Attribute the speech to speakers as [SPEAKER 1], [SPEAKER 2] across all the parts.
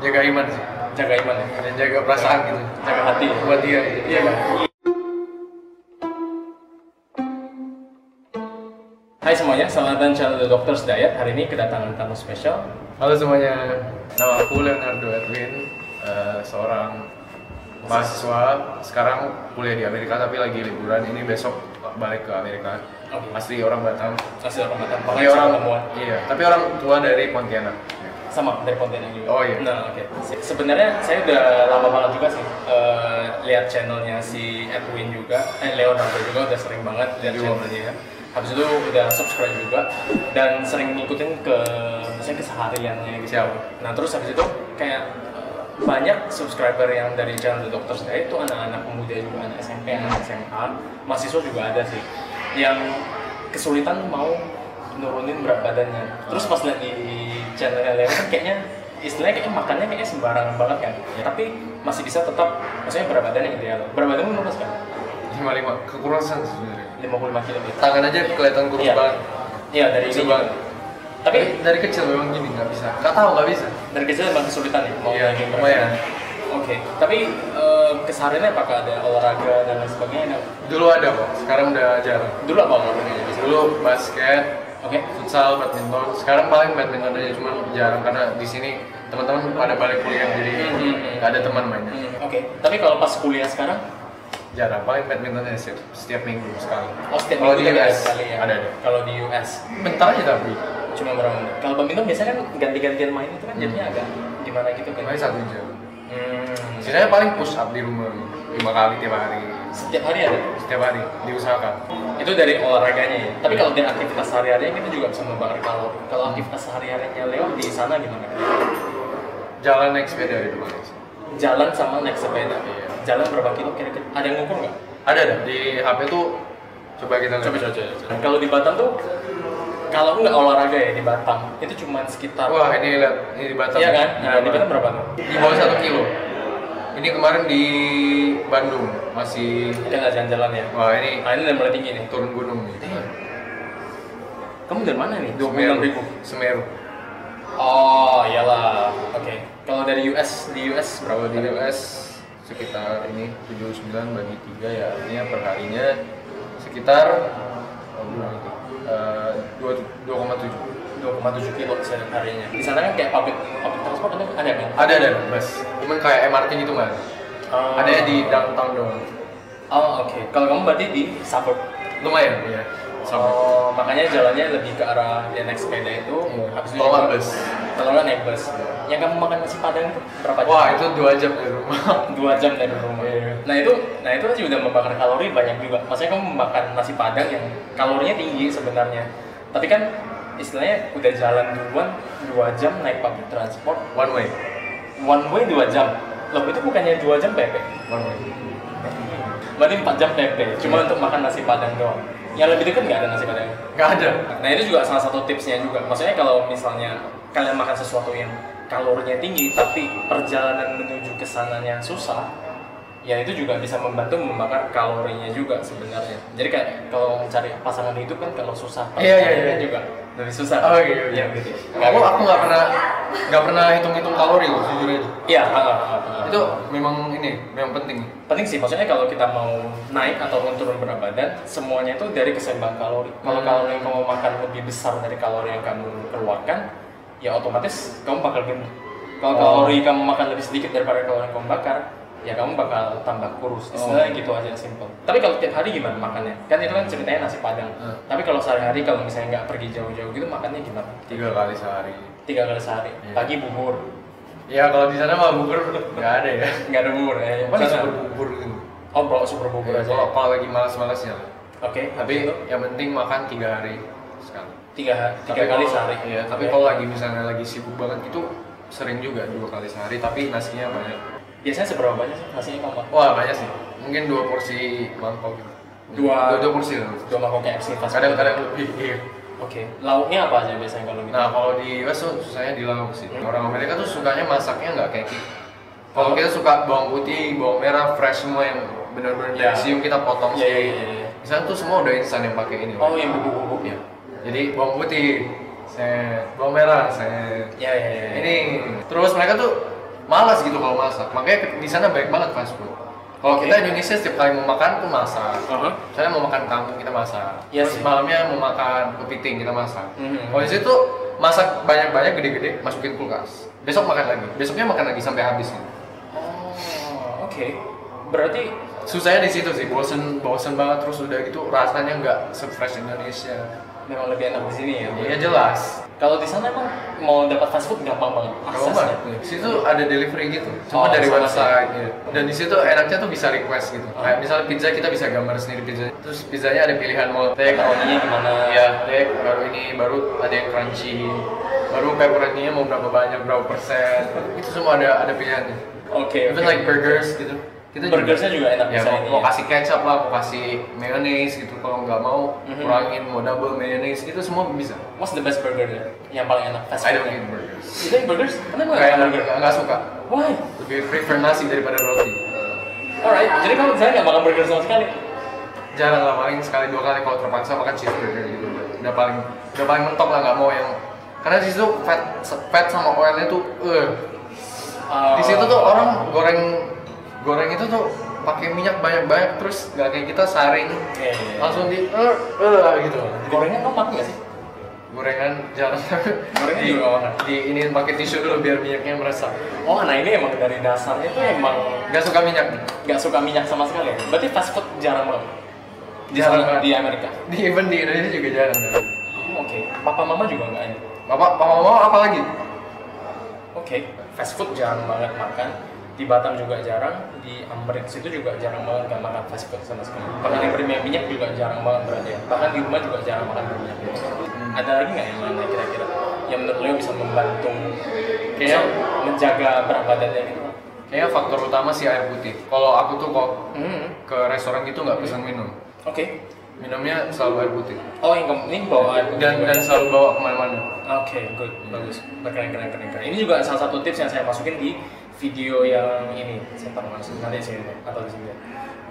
[SPEAKER 1] jaga iman sih jaga iman ya dan jaga perasaan gitu
[SPEAKER 2] Jaga hati.
[SPEAKER 1] buat dia iya kan
[SPEAKER 2] Hai semuanya, selamat datang channel The Doctor's Diet. Hari ini kedatangan tamu spesial.
[SPEAKER 1] halo semuanya nama aku Leonardo Erwin eh, seorang mahasiswa sekarang kuliah di Amerika tapi lagi liburan ini besok balik ke Amerika
[SPEAKER 2] Oke.
[SPEAKER 1] asli orang Batam
[SPEAKER 2] Hasil Ramadan
[SPEAKER 1] tapi
[SPEAKER 2] Pakai
[SPEAKER 1] orang
[SPEAKER 2] orang temuan.
[SPEAKER 1] iya tapi orang tua dari Pontianak Iya.
[SPEAKER 2] Sama dari konten yang juga.
[SPEAKER 1] Oh, iya.
[SPEAKER 2] Nah, oke. Se- Sebenarnya saya udah lama banget juga sih eh, lihat channelnya si Edwin juga, eh Leonardo juga udah sering banget lihat
[SPEAKER 1] Iya.
[SPEAKER 2] channelnya. ya. Habis itu udah subscribe juga dan sering ngikutin ke misalnya kesehariannya gitu.
[SPEAKER 1] Siap.
[SPEAKER 2] Nah terus habis itu kayak eh, banyak subscriber yang dari channel The Doctor saya itu anak-anak pemuda juga, anak SMP, anak SMA, mahasiswa juga ada sih yang kesulitan mau nurunin berat badannya. Terus pas lihat di channel LM kan kayaknya istilahnya kayaknya makannya kayaknya sembarangan banget kan. Tapi masih bisa tetap maksudnya berat badan yang ideal. Berat badan lu lurus kan?
[SPEAKER 1] lima lima kekurangan sebenarnya
[SPEAKER 2] 55 kilo gitu.
[SPEAKER 1] tangan aja kelihatan kurus
[SPEAKER 2] Iya.
[SPEAKER 1] banget
[SPEAKER 2] Iya dari
[SPEAKER 1] Kurus
[SPEAKER 2] ini.
[SPEAKER 1] banget.
[SPEAKER 2] Tapi
[SPEAKER 1] dari, dari kecil memang gini nggak bisa nggak tahu nggak bisa
[SPEAKER 2] dari kecil emang kesulitan ya mau
[SPEAKER 1] Iya,
[SPEAKER 2] naikin berat
[SPEAKER 1] lumayan.
[SPEAKER 2] badan? Oke, tapi eh, kesehariannya apakah ada olahraga dan lain sebagainya?
[SPEAKER 1] dulu ada kok sekarang udah jarang
[SPEAKER 2] Dulu apa olahraganya biasanya?
[SPEAKER 1] dulu basket
[SPEAKER 2] Oke,
[SPEAKER 1] futsal, badminton. Sekarang paling badminton aja cuman jarang karena di sini teman-teman pada balik kuliah jadi
[SPEAKER 2] Hmm, hmm, hmm.
[SPEAKER 1] nggak ada teman mainnya.
[SPEAKER 2] Hmm, oke. Tapi kalau pas kuliah sekarang,
[SPEAKER 1] Jarang paling badminton aja setiap, setiap minggu sekali.
[SPEAKER 2] oh setiap
[SPEAKER 1] Kalau
[SPEAKER 2] minggu
[SPEAKER 1] di
[SPEAKER 2] juga
[SPEAKER 1] US
[SPEAKER 2] sekali ya?
[SPEAKER 1] ada ada.
[SPEAKER 2] Kalau di US,
[SPEAKER 1] Bentar aja tapi.
[SPEAKER 2] cuma berapa menit? Kalau badminton biasanya kan ganti-gantian main itu kan
[SPEAKER 1] Hmm.
[SPEAKER 2] jadinya agak gimana gitu kan?
[SPEAKER 1] Paling satu jam.
[SPEAKER 2] Hmm.
[SPEAKER 1] Sisanya paling push up di rumah lima kali tiap hari.
[SPEAKER 2] setiap hari ada?
[SPEAKER 1] Setiap hari diusahakan.
[SPEAKER 2] Itu dari olahraganya ya? Tapi kalau dari aktivitas sehari-harinya kita juga bisa membakar kalori. Kalau aktivitas sehari-harinya Leo di sana gimana?
[SPEAKER 1] Jalan naik sepeda gitu, itu paling.
[SPEAKER 2] Jalan sama naik sepeda?
[SPEAKER 1] Iya.
[SPEAKER 2] Jalan berapa kilo kira-kira? Ada yang ngukur nggak?
[SPEAKER 1] Ada ada di HP tuh coba kita lihat.
[SPEAKER 2] Coba coba coba. coba. Nah, Kalau di Batam tuh kalau nggak olahraga ya di Batam itu cuma sekitar
[SPEAKER 1] Wah ini lihat ini di Batam.
[SPEAKER 2] Iya kan? Nah, di Batam berapa tuh?
[SPEAKER 1] di bawah satu kilo. Ini kemarin di Bandung masih
[SPEAKER 2] Kita nggak jalan-jalan ya.
[SPEAKER 1] wah ini
[SPEAKER 2] Nah, ini udah mulai tinggi nih.
[SPEAKER 1] turun gunung nih.
[SPEAKER 2] Kamu dari mana nih?
[SPEAKER 1] Semeru.
[SPEAKER 2] 26.000.
[SPEAKER 1] Semeru.
[SPEAKER 2] Oh, iyalah. Oke. Kalau dari US, di US berapa?
[SPEAKER 1] Kalau di US sekitar ini 79 bagi 3 ya artinya perharinya sekitar oh, berapa itu? Eh, dua- 2,7
[SPEAKER 2] 2,7 kilo setiap harinya. Di sana kan kayak public public transport ada ada kan?
[SPEAKER 1] ada ada bus cuman kayak MRT gitu nggak ada
[SPEAKER 2] Oh.
[SPEAKER 1] ada di downtown doang
[SPEAKER 2] Oh, oke. Kalau kamu berarti di suburb.
[SPEAKER 1] lumayan ya sama
[SPEAKER 2] Oh, makanya jalannya lebih ke arah ya naik sepeda itu.
[SPEAKER 1] Iya.
[SPEAKER 2] Habis itu
[SPEAKER 1] Kalau nggak
[SPEAKER 2] juga-
[SPEAKER 1] bus.
[SPEAKER 2] Kalau nggak naik bus. Yang kamu makan nasi padang itu berapa jam?
[SPEAKER 1] wah itu dua jam dari rumah
[SPEAKER 2] dua jam dari rumah.
[SPEAKER 1] Iya.
[SPEAKER 2] Nah itu, nah itu juga membakar kalori banyak juga. Maksudnya kamu makan nasi padang yang kalorinya tinggi sebenarnya. Tapi kan istilahnya udah jalan duluan dua jam naik public transport
[SPEAKER 1] one way
[SPEAKER 2] one way dua jam. Loh itu bukannya dua jam PP?
[SPEAKER 1] one way
[SPEAKER 2] Berarti empat jam PP.
[SPEAKER 1] Iya.
[SPEAKER 2] Cuma untuk makan nasi padang doang. Yang lebih dekat nggak ada nasi padang?
[SPEAKER 1] nggak ada
[SPEAKER 2] Nah itu juga salah satu tipsnya juga. Maksudnya kalau misalnya kalian makan sesuatu yang kalorinya tinggi tapi perjalanan menuju ke sananya susah, ya itu juga bisa membantu membakar kalorinya juga sebenarnya. Jadi kayak kalau mencari pasangan hidup kan kalau susah,
[SPEAKER 1] Iya, iya,
[SPEAKER 2] perjalanannya
[SPEAKER 1] iya.
[SPEAKER 2] juga lebih susah.
[SPEAKER 1] oh iya iya
[SPEAKER 2] Iya, gitu.
[SPEAKER 1] aku aku nggak pernah nggak pernah hitung hitung kalori loh jujur aja
[SPEAKER 2] Iya, ah, ah, ah, ah.
[SPEAKER 1] itu memang ini memang penting
[SPEAKER 2] penting sih maksudnya kalau kita mau naik ataupun turun berat badan semuanya itu dari keseimbangan kalori kalau
[SPEAKER 1] Hmm.
[SPEAKER 2] kalori yang kamu makan lebih besar dari kalori yang kamu keluarkan ya otomatis kamu bakal gendut kalau
[SPEAKER 1] Oh.
[SPEAKER 2] kalori kamu makan lebih sedikit daripada kalori yang kamu bakar ya kamu bakal tambah kurus
[SPEAKER 1] Oh.
[SPEAKER 2] istilahnya gitu aja simple tapi kalau tiap hari gimana makannya kan itu kan ceritanya nasi padang
[SPEAKER 1] Hmm.
[SPEAKER 2] tapi kalau sehari-hari kalau misalnya nggak pergi jauh-jauh gitu makannya gimana
[SPEAKER 1] tiga kali sehari
[SPEAKER 2] tiga kali sehari
[SPEAKER 1] Iya.
[SPEAKER 2] pagi bubur
[SPEAKER 1] ya kalau di sana mah bubur nggak ada ya
[SPEAKER 2] nggak ada bubur ya
[SPEAKER 1] Paling
[SPEAKER 2] Misalnya-
[SPEAKER 1] super bubur gitu
[SPEAKER 2] oh bawa super bubur aja gitu.
[SPEAKER 1] kalau
[SPEAKER 2] oke
[SPEAKER 1] kalau lagi malas-malasnya lah. Iya,
[SPEAKER 2] habis
[SPEAKER 1] tapi
[SPEAKER 2] itu?
[SPEAKER 1] yang penting makan tiga hari sekali
[SPEAKER 2] tiga tiga
[SPEAKER 1] Tapi
[SPEAKER 2] kali
[SPEAKER 1] kalau-
[SPEAKER 2] sehari
[SPEAKER 1] iya tapi
[SPEAKER 2] Oke.
[SPEAKER 1] kalau lagi misalnya lagi sibuk banget itu sering juga dua kali sehari tapi nasinya banyak
[SPEAKER 2] biasanya seberapa banyak sih nasinya kamu makan?
[SPEAKER 1] wah banyak sih mungkin dua porsi mangkok gitu
[SPEAKER 2] Dua-
[SPEAKER 1] dua, dua porsi lah.
[SPEAKER 2] dua mangkok KFC fast food.
[SPEAKER 1] kadang-kadang lebih iya.
[SPEAKER 2] oke lauknya apa aja biasanya kalau gitu
[SPEAKER 1] Nah kalau di US tuh susahnya di lauk sih.
[SPEAKER 2] Hmm.
[SPEAKER 1] Orang Amerika tuh sukanya masaknya nggak kayak kita. Kalau kita suka bawang putih, bawang merah, fresh semua yang benar-benar dari
[SPEAKER 2] Ya.
[SPEAKER 1] siung kita potong
[SPEAKER 2] Iya,
[SPEAKER 1] sendiri.
[SPEAKER 2] iya, iya, iya.
[SPEAKER 1] Di sana tuh semua udah instan yang pakai ini.
[SPEAKER 2] oh
[SPEAKER 1] Pak.
[SPEAKER 2] yang bubuk-bubuk
[SPEAKER 1] Iya.
[SPEAKER 2] ya
[SPEAKER 1] Jadi bawang putih, set, bawang merah, set.
[SPEAKER 2] ya ya ya
[SPEAKER 1] Ini terus mereka tuh malas gitu kalau masak makanya ke- di sana banyak banget fast food kalau kita Indonesia setiap kali mau makan tuh masak
[SPEAKER 2] Aha.
[SPEAKER 1] misalnya mau makan kangkung kita masak
[SPEAKER 2] Iya
[SPEAKER 1] terus
[SPEAKER 2] sih.
[SPEAKER 1] malamnya mau makan kepiting kita masak
[SPEAKER 2] Mhm.
[SPEAKER 1] kalau di situ masak banyak-banyak gede-gede masukin kulkas besok makan lagi besoknya makan lagi sampai habis gitu.
[SPEAKER 2] Oh, oke. Berarti
[SPEAKER 1] susahnya di situ sih bosen bosen banget terus udah gitu rasanya nggak se-fresh Indonesia
[SPEAKER 2] memang lebih enak di sini ya. Bu?
[SPEAKER 1] ya jelas
[SPEAKER 2] Kalau di sana emang mau dapat fast food gampang banget
[SPEAKER 1] Kalau
[SPEAKER 2] aksesnya.
[SPEAKER 1] nggak, di situ ada delivery gitu, cuma
[SPEAKER 2] Oh,
[SPEAKER 1] dari
[SPEAKER 2] sama Oh.
[SPEAKER 1] website. ya. Dan di situ enaknya tuh bisa request gitu. Kayak misalnya pizza kita bisa gambar sendiri pizza. Terus pizzanya ada pilihan mau take,
[SPEAKER 2] Makaroninya gimana?
[SPEAKER 1] ya take, baru ini, baru ada yang crunchy, baru pepperoninya mau berapa banyak, berapa persen. Itu semua ada ada pilihannya.
[SPEAKER 2] Oke.
[SPEAKER 1] Even
[SPEAKER 2] oke.
[SPEAKER 1] like burgers gitu. Kita
[SPEAKER 2] Burgersnya juga enak
[SPEAKER 1] ya,
[SPEAKER 2] bisa
[SPEAKER 1] mau,
[SPEAKER 2] ini
[SPEAKER 1] mau
[SPEAKER 2] ya.
[SPEAKER 1] kasih kecap lah, mau kasih mayonnaise gitu. Kalau nggak mau
[SPEAKER 2] Mhm.
[SPEAKER 1] kurangin, mau double mayonnaise itu semua bisa.
[SPEAKER 2] What's the best burger there? Yang paling enak fast
[SPEAKER 1] I
[SPEAKER 2] food.
[SPEAKER 1] don't eat burgers.
[SPEAKER 2] You don't eat burgers? Kenapa nggak
[SPEAKER 1] Kayak
[SPEAKER 2] enak burger?
[SPEAKER 1] nggak nggak suka.
[SPEAKER 2] Why?
[SPEAKER 1] lebih prefer nasi daripada roti
[SPEAKER 2] Alright, jadi kamu di sana nggak makan burger sama sekali?
[SPEAKER 1] jarang lah paling sekali dua kali kalau terpaksa makan cheeseburger gitu udah paling udah paling mentok lah nggak mau yang karena di situ fat fat sama oilnya tuh eh
[SPEAKER 2] Uh,
[SPEAKER 1] di situ tuh orang goreng goreng itu tuh pakai minyak banyak banyak terus nggak kayak kita saring
[SPEAKER 2] Iya, iya, iya.
[SPEAKER 1] langsung di eh eh gitu
[SPEAKER 2] gorengnya kamu makan nggak sih?
[SPEAKER 1] gorengan jarang
[SPEAKER 2] Gorengan
[SPEAKER 1] di,
[SPEAKER 2] juga orang.
[SPEAKER 1] di ini pakai tisu dulu biar minyaknya meresap
[SPEAKER 2] Oh, anak ini emang dari dasarnya tuh emang
[SPEAKER 1] nggak suka minyak
[SPEAKER 2] nggak suka minyak sama sekali. ya? Berarti fast food jarang banget. Di
[SPEAKER 1] Jarang
[SPEAKER 2] sana,
[SPEAKER 1] banget.
[SPEAKER 2] di Amerika.
[SPEAKER 1] di even di Indonesia juga jarang
[SPEAKER 2] Oh, Oke, papa mama juga nggak ada.
[SPEAKER 1] bapak bapak mau apa lagi
[SPEAKER 2] Oke, fast food jarang banget makan. Di Batam juga jarang, di Amrit situ juga jarang banget nggak makan fast food sama sekali. Bahkan yang berminyak minyak juga jarang banget berarti. ya. Bahkan di rumah juga jarang makan berminyak minyak. Ada lagi nggak yang lainnya kira-kira yang menurut lo bisa membantu kayak menjaga berat badannya gitu?
[SPEAKER 1] Kayaknya faktor utama sih air putih. Kalau aku tuh kok
[SPEAKER 2] Hmm,
[SPEAKER 1] ke restoran gitu nggak pesan minum.
[SPEAKER 2] Oke.
[SPEAKER 1] Minumnya selalu air putih.
[SPEAKER 2] Oh, yang kamu- ini bawa air putih
[SPEAKER 1] Dan
[SPEAKER 2] juga.
[SPEAKER 1] dan selalu bawa kemana-mana.
[SPEAKER 2] Oke, good, bagus, Nah, keren, keren, keren, keren. Ini juga salah satu tips yang saya masukin di video yang ini, saya taruh langsung nanti di sini atau di sini.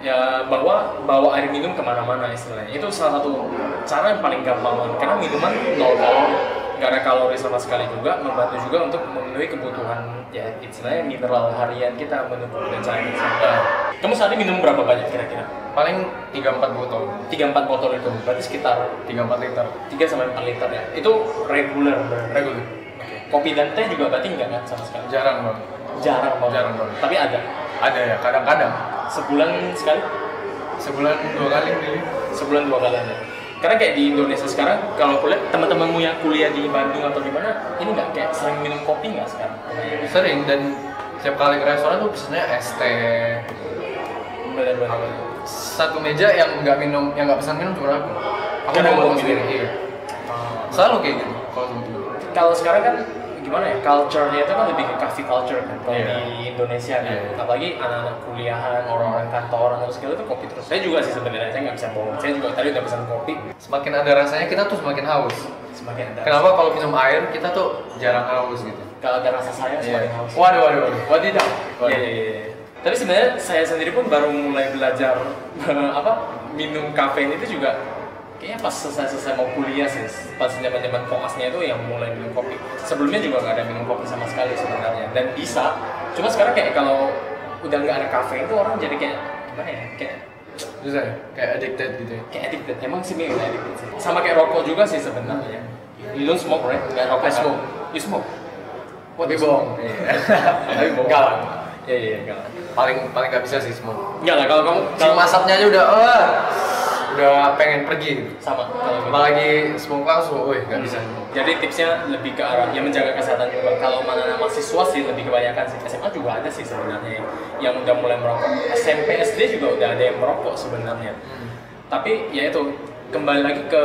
[SPEAKER 2] Ya bahwa bawa air minum kemana-mana istilahnya. Itu salah satu cara yang paling gampang banget. karena minuman nol kalori, nggak ada kalori sama sekali juga, membantu juga untuk memenuhi kebutuhan ya istilahnya mineral harian kita menubuh dan sehari
[SPEAKER 1] Nah,
[SPEAKER 2] Kamu sehari minum berapa banyak kira-kira?
[SPEAKER 1] paling 3-4 botol,
[SPEAKER 2] 3-4 botol itu, berarti sekitar
[SPEAKER 1] 3-4 liter
[SPEAKER 2] 3-4 liter ya. Itu reguler berarti.
[SPEAKER 1] reguler.
[SPEAKER 2] Kopi dan teh juga berarti nggak kan sama sekali?
[SPEAKER 1] Jarang banget.
[SPEAKER 2] Jarang banget.
[SPEAKER 1] Jarang banget.
[SPEAKER 2] Tapi ada.
[SPEAKER 1] Ada ya, kadang-kadang
[SPEAKER 2] Sebulan sekali,
[SPEAKER 1] sebulan dua kali beli.
[SPEAKER 2] sebulan dua kali ada. Karena kayak di Indonesia sekarang, kalau kuliah teman-temanmu yang kuliah di Bandung atau di mana, ini nggak kayak sering minum kopi nggak sekarang?
[SPEAKER 1] Sering dan setiap kali ke restoran tuh pesannya es teh.
[SPEAKER 2] Benar-benar.
[SPEAKER 1] Satu meja yang nggak minum, yang nggak pesan minum cuma aku. Aku
[SPEAKER 2] Karena
[SPEAKER 1] udah
[SPEAKER 2] mau
[SPEAKER 1] ngomong
[SPEAKER 2] minum.
[SPEAKER 1] sendiri. Iya. Selalu kayak gitu kalau temen-temen.
[SPEAKER 2] Kalau sekarang kan gimana ya culture-nya itu kan lebih ke cafe culture kan kalau
[SPEAKER 1] Iya.
[SPEAKER 2] di Indonesia kan
[SPEAKER 1] Iya.
[SPEAKER 2] apalagi anak-anak kuliahan orang-orang kantoran terus segala itu kopi terus saya juga sih sebenarnya saya nggak bisa bohong saya juga tadi udah pesan kopi
[SPEAKER 1] Semakin ada rasanya kita tuh semakin haus.
[SPEAKER 2] semakin ada
[SPEAKER 1] Kenapa kalau minum air kita tuh jarang haus gitu? Iya.
[SPEAKER 2] kalau ada rasa saya semakin haus
[SPEAKER 1] Waduh, waduh, waduh.
[SPEAKER 2] Wadidaw.
[SPEAKER 1] Waduh.
[SPEAKER 2] Iya, iya, iya. Tapi sebenarnya saya sendiri pun baru mulai belajar apa minum kafein itu juga kayaknya pas selesai-selesai mau kuliah sih pas zaman-zaman koasnya itu yang mulai minum kopi sebelumnya juga nggak ada minum kopi sama sekali sebenarnya dan bisa cuma sekarang kayak kalau udah nggak ada kafein itu orang jadi kayak gimana ya kayak
[SPEAKER 1] Susah ya? Kayak addicted gitu ya?
[SPEAKER 2] kayak addicted emang sih mirip addicted sih sama kayak rokok juga sih sebenarnya you don't smoke right nggak rokok
[SPEAKER 1] I smoke.
[SPEAKER 2] kan? you smoke
[SPEAKER 1] Tapi bohong.
[SPEAKER 2] tapi bohong
[SPEAKER 1] Enggak lah.
[SPEAKER 2] iya iya enggak lah
[SPEAKER 1] Paling paling nggak bisa sih semua.
[SPEAKER 2] Enggak lah kalau kamu
[SPEAKER 1] Cium asapnya aja udah, eh, udah pengen pergi. gitu.
[SPEAKER 2] sama kalau gue.
[SPEAKER 1] Apalagi smoke langsung, wih nggak bisa.
[SPEAKER 2] Jadi tipsnya lebih ke arah yang menjaga kesehatan juga. Kalau mana mahasiswa sih lebih kebanyakan sih SMA juga ada sih sebenarnya yang, yang udah mulai merokok. SMP SD juga udah ada yang merokok sebenarnya.
[SPEAKER 1] Hmm.
[SPEAKER 2] Tapi ya itu kembali lagi ke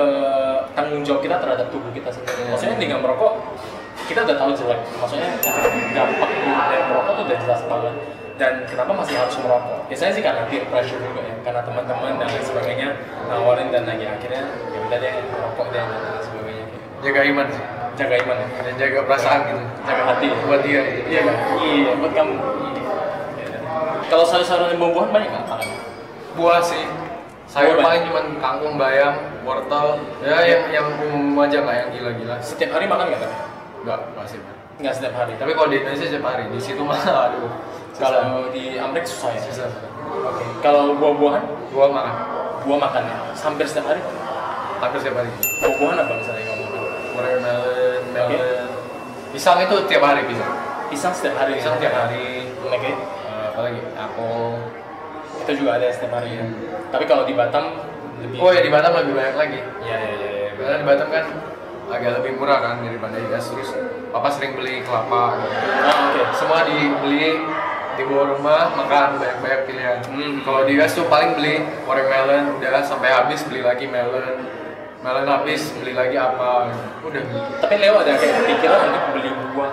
[SPEAKER 2] tanggung jawab kita terhadap tubuh kita sendiri. Maksudnya dengan merokok kita udah tahu jelek. Maksudnya dampak buruk dari merokok itu udah jelas banget. Dan kenapa masih harus merokok? Biasanya sih karena peer pressure juga ya, karena teman-teman dan lain sebagainya nawarin dan lagi akhirnya ya udah deh merokok deh dan lain sebagainya
[SPEAKER 1] Jaga iman sih.
[SPEAKER 2] jaga iman ya?
[SPEAKER 1] Dan jaga perasaan gitu.
[SPEAKER 2] jaga hati
[SPEAKER 1] Buat dia. gitu.
[SPEAKER 2] iya Kak. iya buat kamu Iya. kalau sayur-sayuran dan buah-buahan banyak nggak makan
[SPEAKER 1] Buah sih. Sayur
[SPEAKER 2] Buah banyak.
[SPEAKER 1] paling cuma kangkung, bayam, wortel. Ya yang yang umum aja nggak yang gila-gila.
[SPEAKER 2] setiap hari makan nggak kan
[SPEAKER 1] Nggak, masih. Bang.
[SPEAKER 2] nggak setiap hari
[SPEAKER 1] Tapi kalau di Indonesia setiap hari, di situ mah aduh. Kalau
[SPEAKER 2] kalau di Amerika susah ya
[SPEAKER 1] susah.
[SPEAKER 2] Oke. kalau buah-buahan
[SPEAKER 1] Gua makan
[SPEAKER 2] buah makannya hampir setiap hari
[SPEAKER 1] hampir setiap hari.
[SPEAKER 2] buah-buahan apa misalnya yang kamu makan
[SPEAKER 1] Watermelon, melon. Pisang itu tiap hari pisang.
[SPEAKER 2] pisang setiap hari
[SPEAKER 1] Pisang tiap hari.
[SPEAKER 2] oke
[SPEAKER 1] Eh, apa lagi? Apel.
[SPEAKER 2] itu juga ada setiap hari ya tapi kalau di Batam lebih
[SPEAKER 1] Hmm. Oh ya di Iya, Batam lebih banyak lagi.
[SPEAKER 2] ya ya ya, ya.
[SPEAKER 1] Karena di Batam kan agak lebih murah kan daripada di gas terus papa sering beli kelapa gitu.
[SPEAKER 2] Ah, oke
[SPEAKER 1] semua dibeli di bawah rumah makan banyak-banyak pilihan
[SPEAKER 2] Hmm.
[SPEAKER 1] kalau di gas tuh paling beli watermelon udah sampai habis beli lagi melon melon habis beli lagi apa udah
[SPEAKER 2] tapi Leo ada kayak pikiran untuk beli buah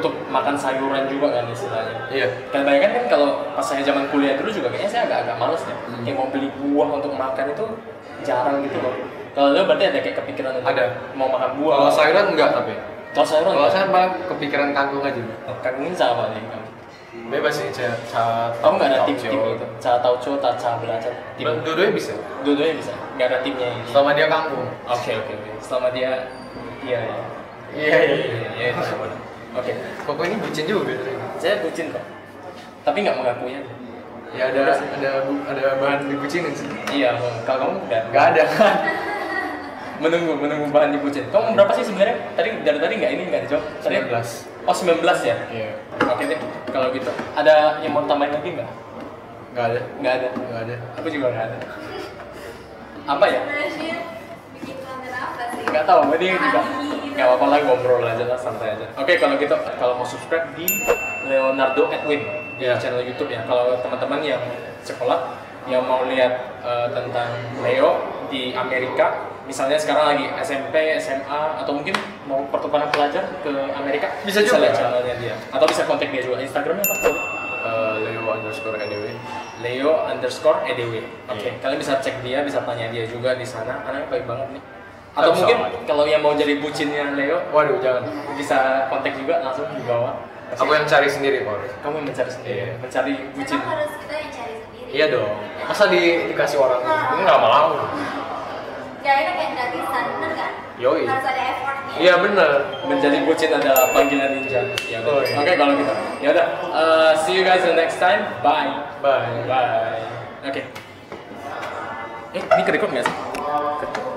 [SPEAKER 2] untuk makan sayuran juga kan istilahnya
[SPEAKER 1] iya
[SPEAKER 2] Kan bayangkan kan kalau pas saya zaman kuliah dulu juga kayaknya saya agak-agak males ya.
[SPEAKER 1] Hmm.
[SPEAKER 2] Yang mau beli buah untuk makan itu jarang gitu loh. Kalau lo berarti ada kayak kepikiran untuk
[SPEAKER 1] Ada.
[SPEAKER 2] mau makan buah.
[SPEAKER 1] kalau sayuran enggak tapi
[SPEAKER 2] kalau sayuran
[SPEAKER 1] kalau
[SPEAKER 2] enggak.
[SPEAKER 1] saya malah kepikiran kangkung aja
[SPEAKER 2] kagungin sama nih.
[SPEAKER 1] bebas sih saya saya
[SPEAKER 2] Kamu nggak Oh, ada
[SPEAKER 1] tahu
[SPEAKER 2] tim-tim
[SPEAKER 1] jawab.
[SPEAKER 2] gitu? Cara tauco, cara cara belajar. Tim.
[SPEAKER 1] dua-duanya bisa
[SPEAKER 2] Dua-duanya bisa. Nggak ada timnya ini. Oke
[SPEAKER 1] selama dia kangkung
[SPEAKER 2] oke oke. Selama dia iya ya.
[SPEAKER 1] iya
[SPEAKER 2] Iya iya. itu boleh. Oke.
[SPEAKER 1] kok ini bucin juga
[SPEAKER 2] Saya bucin kok. Tapi nggak mengakuinya.
[SPEAKER 1] ya ada ada ada bahan dibucinin sih
[SPEAKER 2] Iya. Kalau kamu nggak
[SPEAKER 1] nggak ada
[SPEAKER 2] menunggu menunggu bahan dibucin kamu berapa sih sebenarnya tadi dari tadi nggak ini nggak dijawab tadi
[SPEAKER 1] 19.
[SPEAKER 2] oh 19 ya
[SPEAKER 1] iya
[SPEAKER 2] oke deh kalau gitu ada yang mau tambahin lagi nggak
[SPEAKER 1] nggak ada
[SPEAKER 2] nggak ada
[SPEAKER 1] nggak ada
[SPEAKER 2] aku juga nggak ada apa ya
[SPEAKER 3] Sebenarnya bikin konten apa sih?
[SPEAKER 2] nggak tahu ini juga
[SPEAKER 3] Lagi gitu.
[SPEAKER 2] nggak apa-apa lah ngobrol aja lah santai aja oke kalau gitu kalau mau subscribe di Leonardo Edwin di
[SPEAKER 1] Iya.
[SPEAKER 2] channel YouTube ya kalau teman-teman yang sekolah yang mau lihat eh, tentang Leo di Amerika misalnya sekarang lagi SMP SMA atau mungkin mau pertukaran pelajar ke Amerika
[SPEAKER 1] Bisa juga.
[SPEAKER 2] lihat channelnya dia atau bisa kontak dia juga Instagramnya apa
[SPEAKER 1] Eh, Leo underscore anyway
[SPEAKER 2] Leo underscore EDW. Oke,
[SPEAKER 1] Iya.
[SPEAKER 2] kalian bisa cek dia, bisa tanya dia juga di sana. Anaknya baik banget nih. Atau
[SPEAKER 1] Bisa
[SPEAKER 2] mungkin
[SPEAKER 1] aja.
[SPEAKER 2] kalau yang mau jadi bucinnya Leo
[SPEAKER 1] waduh jangan
[SPEAKER 2] bisa kontak juga langsung di bawah.
[SPEAKER 1] aku yang cari sendiri Paul
[SPEAKER 2] kamu yang mencari sendiri,
[SPEAKER 1] Iya.
[SPEAKER 2] mencari bucin.
[SPEAKER 3] Emang harus kita yang cari sendiri.
[SPEAKER 1] iya dong masa di, dikasih orang Ini nggak mau
[SPEAKER 3] Gak enak yang gratisan, bener kan?
[SPEAKER 1] Yoi.
[SPEAKER 3] Harus ada effortnya.
[SPEAKER 1] iya bener
[SPEAKER 2] Menjadi bucin adalah panggilan ninja. Ya,
[SPEAKER 1] Oh,
[SPEAKER 2] udah.
[SPEAKER 1] iya.
[SPEAKER 2] Oke, kalau gitu. Ya udah, eh, see you guys the next time. Bye.
[SPEAKER 1] bye
[SPEAKER 2] Bye. Oke. Eh, ini kerekod nggak sih? Kerekod.